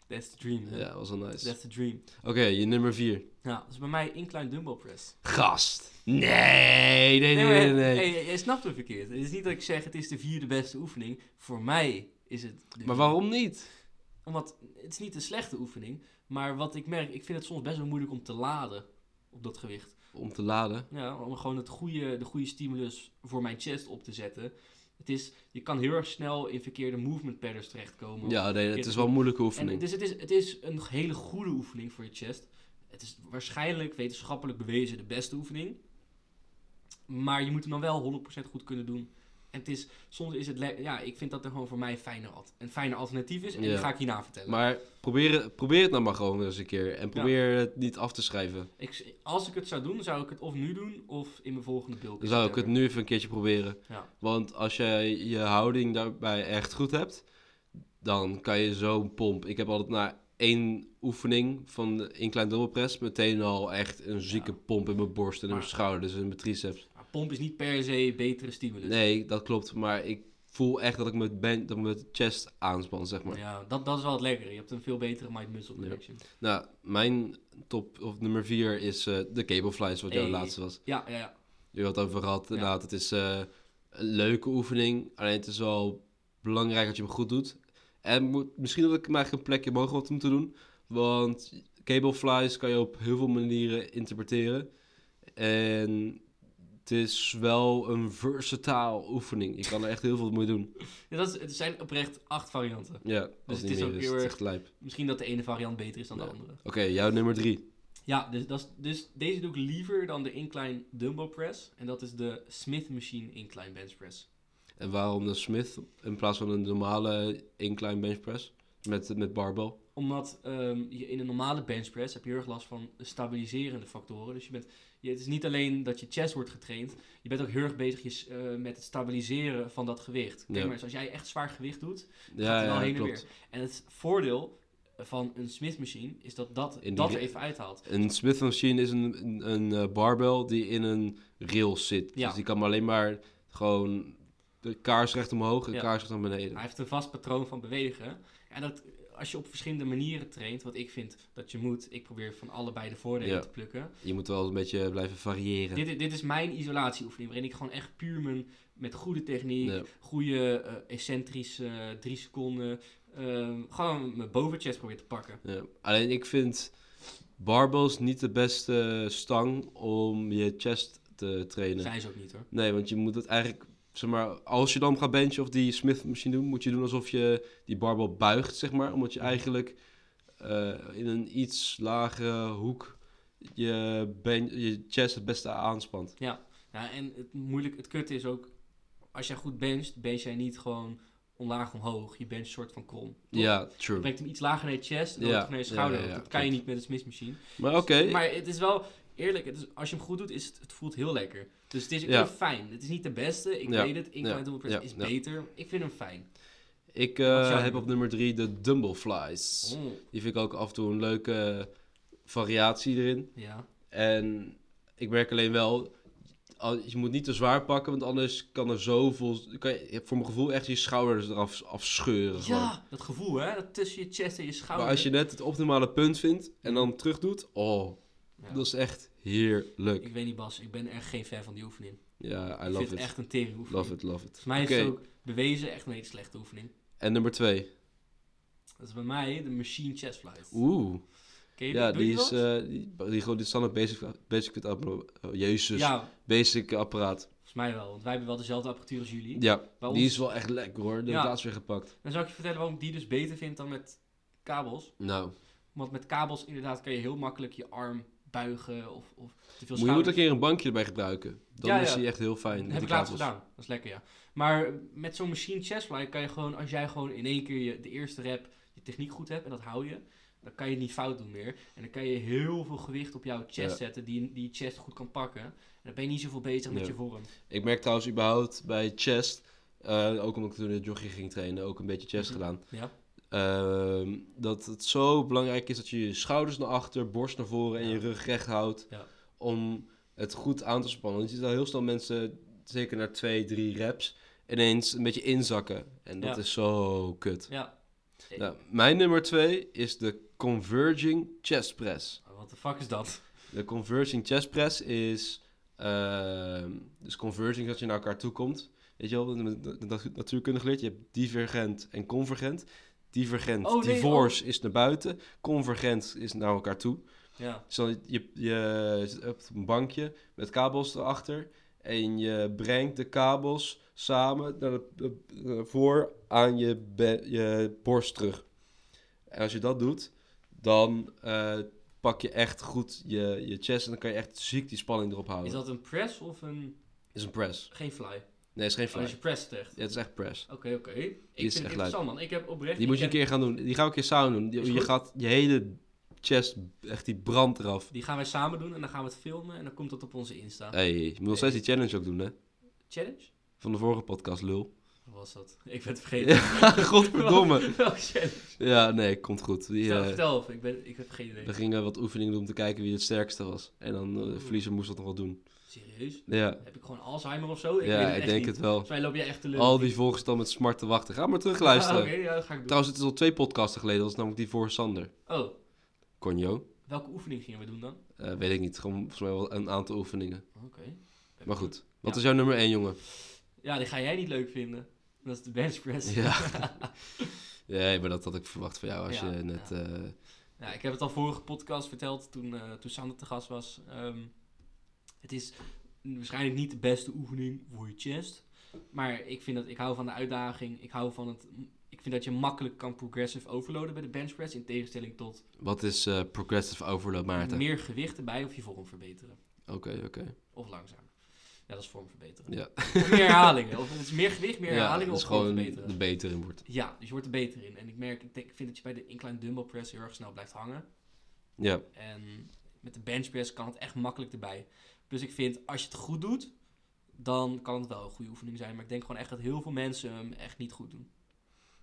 Speaker 2: That's the dream. hè?
Speaker 1: Ja, was wel nice.
Speaker 2: That's the dream.
Speaker 1: Oké, je nummer 4.
Speaker 2: Ja, dat is bij mij incline dumbbell press.
Speaker 1: Gast. Nee, nee, nee,
Speaker 2: maar-
Speaker 1: nee. nee.
Speaker 2: hey, jij snapt het verkeerd. Het is niet dat ik zeg het is de vierde beste oefening. Voor mij is het... de-
Speaker 1: Maar waarom niet?
Speaker 2: Omdat het is niet een slechte oefening. Maar wat ik merk, ik vind het soms best wel moeilijk om te laden op dat gewicht.
Speaker 1: Om te laden.
Speaker 2: Ja, om gewoon het goede, de goede stimulus voor mijn chest op te zetten. Het is, je kan heel erg snel in verkeerde movement patterns terechtkomen.
Speaker 1: Ja, nee, het is wel een moeilijke oefening.
Speaker 2: En dus het is, het is een hele goede oefening voor je chest. Het is waarschijnlijk wetenschappelijk bewezen de beste oefening. Maar je moet hem dan wel 100% goed kunnen doen. En het is, soms is het, le- ja, ik vind dat er gewoon voor mij een fijner, al- een fijner alternatief is. En
Speaker 1: Ja.
Speaker 2: die ga ik hierna vertellen.
Speaker 1: Maar probeer, probeer het nou maar gewoon eens een keer. En probeer het niet af te schrijven.
Speaker 2: Ik, als ik het zou doen, zou ik het of nu doen of in mijn volgende beeld.
Speaker 1: Dan zou ik het nu even een keertje proberen.
Speaker 2: Ja.
Speaker 1: Want als jij je houding daarbij echt goed hebt, dan kan je zo'n pomp. Ik heb altijd na één oefening van de incline double press meteen al echt een zieke
Speaker 2: Ja.
Speaker 1: pomp in mijn borst en in mijn
Speaker 2: Maar-
Speaker 1: schouders en in mijn triceps.
Speaker 2: Maar pomp is niet per se betere stimulus.
Speaker 1: Nee, dat klopt. Maar ik voel echt dat ik mijn, ben, dat ik mijn chest aanspan, zeg maar.
Speaker 2: Ja, dat, dat is wel het lekkere. Je hebt een veel betere mind-muscle
Speaker 1: Ja.
Speaker 2: connection.
Speaker 1: Nou, mijn top of nummer vier is eh, de cable flies, wat jouw
Speaker 2: Hey.
Speaker 1: laatste was.
Speaker 2: Ja, ja, ja.
Speaker 1: Je had het over gehad. Inderdaad, het is eh, een leuke oefening. Alleen het is wel belangrijk dat je hem goed doet. En moet, misschien dat ik hem eigenlijk een plekje mogen had om te doen. Want cableflies kan je op heel veel manieren interpreteren. En het is wel een versatile oefening. Je kan er echt heel veel mee doen.
Speaker 2: Ja, dat is, het zijn oprecht acht varianten.
Speaker 1: Ja, als het
Speaker 2: Dus het is
Speaker 1: niet
Speaker 2: ook
Speaker 1: meer is,
Speaker 2: heel
Speaker 1: het is
Speaker 2: erg-
Speaker 1: echt lijp.
Speaker 2: Misschien dat de ene variant beter is dan
Speaker 1: Ja.
Speaker 2: de andere.
Speaker 1: Oké, jouw nummer drie.
Speaker 2: Ja, dus, dat is, dus deze doe ik liever dan de incline dumbbell press. En dat is de Smith Machine incline bench press.
Speaker 1: En waarom de Smith in plaats van een normale incline bench press met, met barbell?
Speaker 2: Omdat ehm, je in een normale bench press heb je heel erg last van stabiliserende factoren. Dus je bent, je, het is niet alleen dat je chest wordt getraind. Je bent ook heel erg bezig je, s- eh, met het stabiliseren van dat gewicht. Kijk
Speaker 1: Ja.
Speaker 2: maar eens, als jij echt zwaar gewicht doet,
Speaker 1: Ja,
Speaker 2: er wel
Speaker 1: ja,
Speaker 2: heen en
Speaker 1: klopt.
Speaker 2: En het voordeel van een Smith machine is dat dat,
Speaker 1: In
Speaker 2: dat
Speaker 1: die-
Speaker 2: er even uithaalt.
Speaker 1: Een Smith machine is een, een, een eh, barbell die in een rail zit.
Speaker 2: Ja.
Speaker 1: Dus die kan maar alleen maar gewoon de kaars recht omhoog en
Speaker 2: Ja.
Speaker 1: kaars recht naar beneden.
Speaker 2: Hij heeft een vast patroon van bewegen. En dat, als je op verschillende manieren traint, wat ik vind dat je moet, ik probeer van allebei de voordelen
Speaker 1: Ja.
Speaker 2: te plukken.
Speaker 1: Je moet wel een beetje blijven variëren.
Speaker 2: Dit, dit is mijn isolatieoefening, waarin ik gewoon echt puur mijn, met goede techniek,
Speaker 1: Ja.
Speaker 2: goede eh, excentrische eh, drie seconden, eh, gewoon mijn bovenchest probeer te pakken.
Speaker 1: Ja. Alleen ik vind barbells niet de beste stang om je chest te trainen.
Speaker 2: Zijn ze ook niet hoor.
Speaker 1: Nee, want je moet het eigenlijk, zeg maar, als je dan gaat benchen of die Smith machine doen, moet je doen alsof je die barbel buigt, zeg maar. Omdat je eigenlijk eh, in een iets lagere hoek je, ben, je chest het beste aanspant.
Speaker 2: Ja, en het moeilijk, het kutte is ook, als jij goed bencht, bench jij niet gewoon omlaag omhoog. Je bencht soort van krom. toch?
Speaker 1: Ja,
Speaker 2: Je
Speaker 1: true.
Speaker 2: brengt hem iets lager naar je chest en
Speaker 1: Ja,
Speaker 2: dan terug naar je
Speaker 1: ja,
Speaker 2: schouder.
Speaker 1: ja,
Speaker 2: want
Speaker 1: ja,
Speaker 2: dat kan je
Speaker 1: klopt.
Speaker 2: niet met een smithmachine.
Speaker 1: Maar oké,
Speaker 2: Dus, eh, Maar het is wel, eerlijk, het is, als je hem goed doet, is het, het voelt heel lekker. Dus het is ik
Speaker 1: Ja.
Speaker 2: vind hem fijn. Het is niet de beste, ik
Speaker 1: Ja,
Speaker 2: weet het. Incline
Speaker 1: ja,
Speaker 2: double press
Speaker 1: ja,
Speaker 2: is
Speaker 1: ja.
Speaker 2: beter. Ik vind hem fijn.
Speaker 1: ik
Speaker 2: wat
Speaker 1: eh,
Speaker 2: zou je
Speaker 1: heb
Speaker 2: doen?
Speaker 1: op nummer drie de Dumbleflies.
Speaker 2: Oh,
Speaker 1: Die vind ik ook af en toe een leuke eh, variatie erin.
Speaker 2: ja.
Speaker 1: En ik merk alleen wel, al- je moet niet te zwaar pakken, want anders kan er zoveel, kan je voor mijn gevoel echt je schouders eraf afscheuren. gewoon.
Speaker 2: Ja, dat gevoel hè, dat tussen je chest en je schouder.
Speaker 1: Maar als je net het optimale punt vindt en dan terug doet, oh,
Speaker 2: Ja.
Speaker 1: dat is echt heerlijk.
Speaker 2: Ik weet niet Bas, ik ben echt geen fan van die oefening.
Speaker 1: Ja, I
Speaker 2: ik
Speaker 1: love
Speaker 2: vind
Speaker 1: it.
Speaker 2: het echt een tering oefening.
Speaker 1: Love it, love it.
Speaker 2: Volgens mij is
Speaker 1: Oké.
Speaker 2: het ook bewezen echt een hele slechte oefening.
Speaker 1: En nummer twee.
Speaker 2: Dat is bij mij de machine chest flies.
Speaker 1: Oeh.
Speaker 2: Ken je
Speaker 1: Ja,
Speaker 2: doe je
Speaker 1: die is
Speaker 2: dat?
Speaker 1: eh, die, die, gewoon die standaard basic, basic fit apparaat. Oh, jezus,
Speaker 2: ja,
Speaker 1: basic apparaat.
Speaker 2: volgens mij wel, want wij hebben wel dezelfde apparatuur als jullie.
Speaker 1: Ja,
Speaker 2: Bij ons-
Speaker 1: die is wel echt lekker hoor. De
Speaker 2: Ja.
Speaker 1: plaats weer gepakt.
Speaker 2: Dan zou ik je vertellen waarom ik die dus beter vind dan met kabels.
Speaker 1: Nou,
Speaker 2: Want met kabels inderdaad kan je heel makkelijk je arm buigen of, of te
Speaker 1: moet je
Speaker 2: veel
Speaker 1: moet een
Speaker 2: schouder.
Speaker 1: keer een bankje erbij gebruiken. Dan
Speaker 2: Ja,
Speaker 1: is
Speaker 2: ja.
Speaker 1: die echt heel fijn.
Speaker 2: Dat
Speaker 1: met
Speaker 2: heb
Speaker 1: die
Speaker 2: ik laatst
Speaker 1: kabels.
Speaker 2: gedaan. Dat is lekker, ja. Maar met zo'n machine chestfly kan je gewoon, als jij gewoon in één keer je, de eerste rep je techniek goed hebt en dat hou je, dan kan je het niet fout doen meer. En dan kan je heel veel gewicht op jouw chest
Speaker 1: Ja.
Speaker 2: zetten die, die je chest goed kan pakken. En dan ben je niet zoveel bezig met
Speaker 1: Ja.
Speaker 2: je vorm.
Speaker 1: Ik merk trouwens überhaupt bij chest, eh, ook omdat ik toen in het jogging ging trainen, ook een beetje chest
Speaker 2: Mhm.
Speaker 1: gedaan.
Speaker 2: Ja.
Speaker 1: Ehm, dat het zo belangrijk is dat je je schouders naar achter, borst naar voren en
Speaker 2: Ja.
Speaker 1: je rug recht houdt.
Speaker 2: Ja.
Speaker 1: Om het goed aan te spannen. Want je ziet al heel snel mensen, zeker na twee, drie reps, ineens een beetje inzakken. En dat
Speaker 2: Ja.
Speaker 1: is zo kut.
Speaker 2: Ja.
Speaker 1: Nou, mijn nummer twee is de Converging Chest Press.
Speaker 2: Wat de fuck is dat?
Speaker 1: De Converging Chest Press is... ehm, dus converging is dat je naar elkaar toe komt. Weet je wel, dat hebben we nat- nat- natuurkunde geleerd. Je hebt divergent en convergent. Divergent,
Speaker 2: Oh, nee,
Speaker 1: divorce is naar buiten. Convergent is naar elkaar toe.
Speaker 2: Ja.
Speaker 1: Dus dan je, je zit op een bankje met kabels erachter. En je brengt de kabels samen naar de, eh, voor aan je, be- je borst terug. En als je dat doet, dan eh, pak je echt goed je, je chest. En dan kan je echt ziek die spanning erop houden.
Speaker 2: Is
Speaker 1: Is dat...
Speaker 2: dat een press of een...
Speaker 1: is een press.
Speaker 2: Geen fly?
Speaker 1: Nee, is geen
Speaker 2: Als
Speaker 1: fly.
Speaker 2: je press zegt.
Speaker 1: Ja, het is echt press.
Speaker 2: Oké, oké. Ik vind
Speaker 1: echt
Speaker 2: het interessant, man. Ik heb oprecht...
Speaker 1: Die moet je een
Speaker 2: ik heb-
Speaker 1: keer gaan doen. Die gaan we een keer samen doen.
Speaker 2: Is
Speaker 1: Je, je
Speaker 2: goed.
Speaker 1: gaat je hele chest, echt die brand eraf.
Speaker 2: Die gaan wij samen doen en dan gaan we het filmen en dan komt dat op onze Insta.
Speaker 1: hey, je moet nog steeds die challenge ook doen, hè?
Speaker 2: Challenge?
Speaker 1: Van de vorige podcast, lul.
Speaker 2: Wat was dat? Ik ben het vergeten.
Speaker 1: Ja, godverdomme.
Speaker 2: Welke challenge?
Speaker 1: Ja, nee, komt goed. Die,
Speaker 2: Vertel,
Speaker 1: eh,
Speaker 2: vertel even. Ik, ben, ik heb geen idee.
Speaker 1: we gingen wat oefeningen doen om te kijken wie het sterkste was. En dan eh, de
Speaker 2: Oeh.
Speaker 1: verliezer moest dat nog wel doen.
Speaker 2: Serieus?
Speaker 1: Ja,
Speaker 2: Heb ik gewoon Alzheimer of zo? Ik
Speaker 1: ja
Speaker 2: weet het
Speaker 1: ik
Speaker 2: echt
Speaker 1: denk
Speaker 2: niet.
Speaker 1: het wel.
Speaker 2: Volgens mij loop jij echt te lullen.
Speaker 1: Al die volgers dan met smart te wachten. Ga maar terug luisteren.
Speaker 2: Ah, Oké, ja, dat ga ik doen.
Speaker 1: Trouwens, het is al twee podcasten geleden. Dat is namelijk die voor Sander.
Speaker 2: Oh,
Speaker 1: Conjo.
Speaker 2: welke oefening gingen we doen dan?
Speaker 1: Eh, weet ik niet. Gewoon volgens mij wel een aantal oefeningen.
Speaker 2: Oké.
Speaker 1: Maar goed. Wat
Speaker 2: Ja.
Speaker 1: is jouw nummer 1, jongen?
Speaker 2: Ja, die ga jij niet leuk vinden. Dat is de bench press.
Speaker 1: Ja. Nee, maar dat had ik verwacht van jou als
Speaker 2: Ja,
Speaker 1: je net...
Speaker 2: ja.
Speaker 1: eh,
Speaker 2: Ja, Nou, ik heb het al vorige podcast verteld toen, eh, toen Sander te gast was. Ehm, het is waarschijnlijk niet de beste oefening voor je chest. Maar ik, vind dat, ik hou van de uitdaging. Ik, hou van het, ik vind dat je makkelijk kan progressive overloaden bij de bench press. In tegenstelling tot
Speaker 1: wat is eh, progressive overload, Maarten?
Speaker 2: meer gewicht erbij of je vorm verbeteren.
Speaker 1: Oké, oké.
Speaker 2: Of langzamer. Ja, dat is vorm verbeteren.
Speaker 1: Ja.
Speaker 2: Of meer herhalingen. Of het is meer gewicht, meer
Speaker 1: Ja,
Speaker 2: herhalingen
Speaker 1: dat
Speaker 2: of
Speaker 1: is gewoon
Speaker 2: gewoon
Speaker 1: de
Speaker 2: verbeteren.
Speaker 1: beter in wordt.
Speaker 2: Ja, dus je wordt er beter in. En ik merk, ik, denk, ik vind dat je bij de incline dumbbell press heel erg snel blijft hangen.
Speaker 1: Ja,
Speaker 2: En met de benchpress kan het echt makkelijk erbij. Dus ik vind, als je het goed doet, dan kan het wel een goede oefening zijn. Maar ik denk gewoon echt dat heel veel mensen hem echt niet goed doen.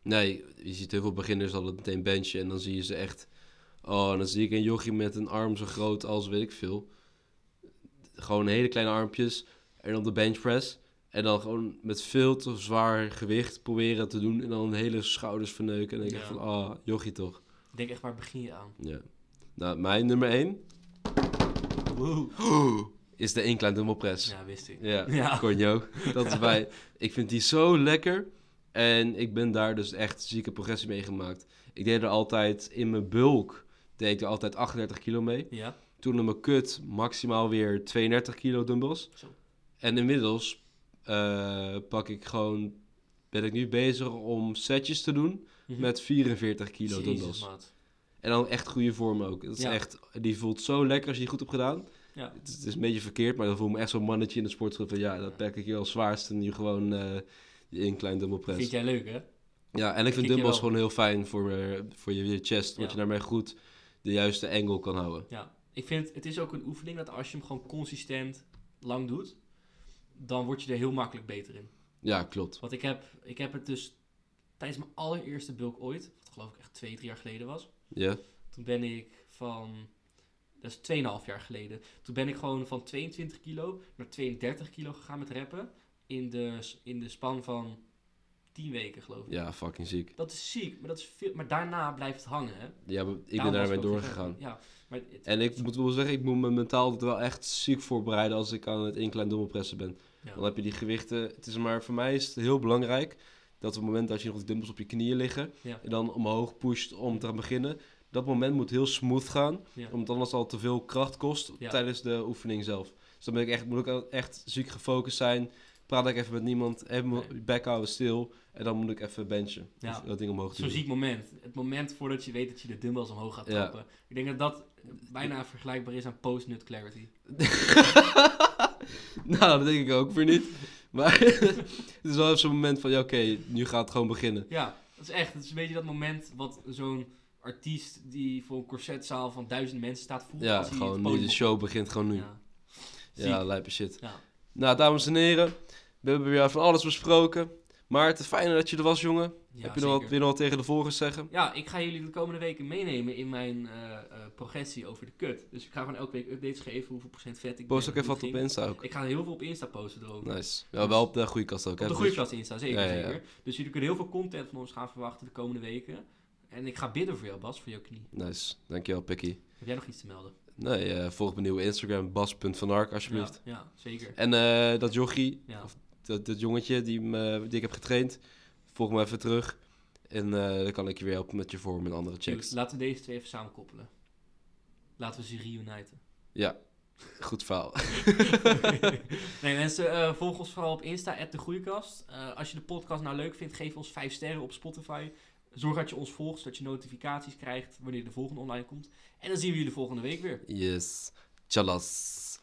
Speaker 1: Nee, je ziet heel veel beginners al meteen benchen en dan zie je ze echt... Oh, en dan zie ik een jochie met een arm zo groot als weet ik veel. Gewoon hele kleine armpjes en op de benchpress. En dan gewoon met veel te zwaar gewicht proberen te doen en dan hele schouders verneuken. En dan denk ik
Speaker 2: Ja.
Speaker 1: van, ah, jochie toch.
Speaker 2: Ik denk echt, waar begin je aan?
Speaker 1: Ja. Nou, mijn nummer 1
Speaker 2: Wow.
Speaker 1: is de incline dumbbell press.
Speaker 2: Ja, wist ik.
Speaker 1: Ja,
Speaker 2: Ja.
Speaker 1: Cornio. Dat is bij. Ik vind die zo lekker. En ik ben daar dus echt zieke progressie mee gemaakt. Ik deed er altijd in mijn bulk. Deed ik er altijd 38 kilo mee.
Speaker 2: Ja,
Speaker 1: Toen in mijn kut maximaal weer 32 kilo dumbbells.
Speaker 2: Zo.
Speaker 1: En inmiddels eh, pak ik gewoon. Ben ik nu bezig om setjes te doen
Speaker 2: Mhm.
Speaker 1: met 44 kilo
Speaker 2: Jezus,
Speaker 1: dumbbells.
Speaker 2: maat.
Speaker 1: En dan echt goede vorm ook. Dat is
Speaker 2: Ja.
Speaker 1: echt, die voelt zo lekker als je die goed hebt gedaan.
Speaker 2: Ja.
Speaker 1: Het, is- het is een beetje verkeerd, maar dan voel ik me echt zo'n mannetje in de sportschool. Van ja, dat pak ik hier als zwaarste en nu gewoon eh die in klein dumbbell press.
Speaker 2: Vind jij leuk, hè?
Speaker 1: Ja, en ik
Speaker 2: kick
Speaker 1: vind
Speaker 2: je
Speaker 1: dumbbells
Speaker 2: wel.
Speaker 1: gewoon heel fijn voor, eh, voor je, je chest. Want
Speaker 2: Ja.
Speaker 1: je daarmee goed de juiste angle kan houden.
Speaker 2: Ja. Ik vind, het- het is ook een oefening dat als je hem gewoon consistent lang doet, dan word je er heel makkelijk beter in.
Speaker 1: Ja, klopt.
Speaker 2: Want ik heb, ik heb het dus tijdens mijn allereerste bulk ooit, wat geloof ik echt twee, drie jaar geleden was,
Speaker 1: Ja,
Speaker 2: Toen ben ik van. Dat is 2,5 jaar geleden. Toen ben ik gewoon van 22 kilo naar 32 kilo gegaan met rappen. In de, in de span van 10 weken, geloof ik.
Speaker 1: ja fucking ziek.
Speaker 2: Dat is ziek, maar, dat is veel, maar daarna blijft het hangen. Hè?
Speaker 1: Ja, maar ik ben
Speaker 2: Daarom was
Speaker 1: daarmee
Speaker 2: ook die
Speaker 1: doorgegaan.
Speaker 2: rappen. Ja, maar het-
Speaker 1: En ik moet wel zeggen, ik moet me mentaal altijd wel echt ziek voorbereiden als ik aan het incline dumbbell pressen ben.
Speaker 2: ja.
Speaker 1: Dan heb je die gewichten. Het is maar voor mij is het heel belangrijk dat op het moment dat je nog die dumbbells op je knieën liggen
Speaker 2: Ja.
Speaker 1: en dan omhoog pusht om te gaan beginnen, dat moment moet heel smooth gaan,
Speaker 2: Ja.
Speaker 1: omdat anders al te veel kracht kost
Speaker 2: Ja.
Speaker 1: tijdens de oefening zelf. Dus dan ben ik echt, moet ik ook echt ziek gefocust zijn. Praat ik even met niemand, even
Speaker 2: Nee.
Speaker 1: mijn bek houden stil en dan moet ik even benchen.
Speaker 2: Ja.
Speaker 1: Of dat ding omhoog
Speaker 2: Zo'n
Speaker 1: duwen.
Speaker 2: ziek moment. Het moment voordat je weet dat je de dumbbells omhoog gaat
Speaker 1: Ja.
Speaker 2: trappen. Ik denk dat dat bijna vergelijkbaar is aan post-nut clarity.
Speaker 1: nou, dat denk ik ook weer niet. Maar het is wel even zo'n moment van, ja oké, nu gaat het gewoon beginnen.
Speaker 2: Ja, dat is echt. Het is een beetje dat moment wat zo'n artiest die voor een concertzaal van duizend mensen staat voelt.
Speaker 1: Ja,
Speaker 2: als hij
Speaker 1: gewoon
Speaker 2: het
Speaker 1: nu
Speaker 2: podium
Speaker 1: de show begint, gewoon nu.
Speaker 2: op-
Speaker 1: Ja,
Speaker 2: Ja.
Speaker 1: ja
Speaker 2: Ziek.
Speaker 1: lijpe shit.
Speaker 2: Ja.
Speaker 1: Nou, dames en heren, we hebben weer van alles besproken. Maarten, fijn dat je er was, jongen.
Speaker 2: Ja,
Speaker 1: Heb je nog wat,
Speaker 2: zeker.
Speaker 1: weer nog wat tegen de volgers zeggen?
Speaker 2: Ja, ik ga jullie de komende weken meenemen in mijn eh, eh, progressie over de kut. Dus ik ga gewoon elke week updates geven hoeveel procent vet ik
Speaker 1: Post
Speaker 2: ben,
Speaker 1: ook even
Speaker 2: hoe
Speaker 1: wat op
Speaker 2: het
Speaker 1: Insta ook.
Speaker 2: ging. Ik ga heel veel op Insta posten erover.
Speaker 1: Nice. Ja, wel op de goede kast ook.
Speaker 2: Op de
Speaker 1: hè,
Speaker 2: goede
Speaker 1: broers?
Speaker 2: klas Insta, zeker,
Speaker 1: dus- Ja, ja, ja.
Speaker 2: zeker. Dus jullie kunnen heel veel content van ons gaan verwachten de komende weken. En ik ga bidden voor jou, Bas, voor jouw knie.
Speaker 1: Nice. Dankjewel, Picky.
Speaker 2: Heb jij nog iets te melden?
Speaker 1: Nee, eh, volg mijn nieuwe Instagram, bas.vanark, alsjeblieft.
Speaker 2: Ja, ja, zeker.
Speaker 1: En eh, dat jochie,
Speaker 2: Ja.
Speaker 1: dat, dat jongetje die, me, die ik heb getraind, volg me even terug. En eh, dan kan ik je weer helpen met je vorm en andere
Speaker 2: Dude,
Speaker 1: checks.
Speaker 2: laten we deze twee even samen koppelen. Laten we ze reuniten.
Speaker 1: Goed verhaal.
Speaker 2: nee mensen, eh, volg ons vooral op Insta, at de Groeikast. Eh, als je de podcast nou leuk vindt, geef ons 5 sterren op Spotify. Zorg dat je ons volgt, zodat je notificaties krijgt wanneer de volgende online komt. En dan zien we jullie volgende week weer.
Speaker 1: Yes. Chalas.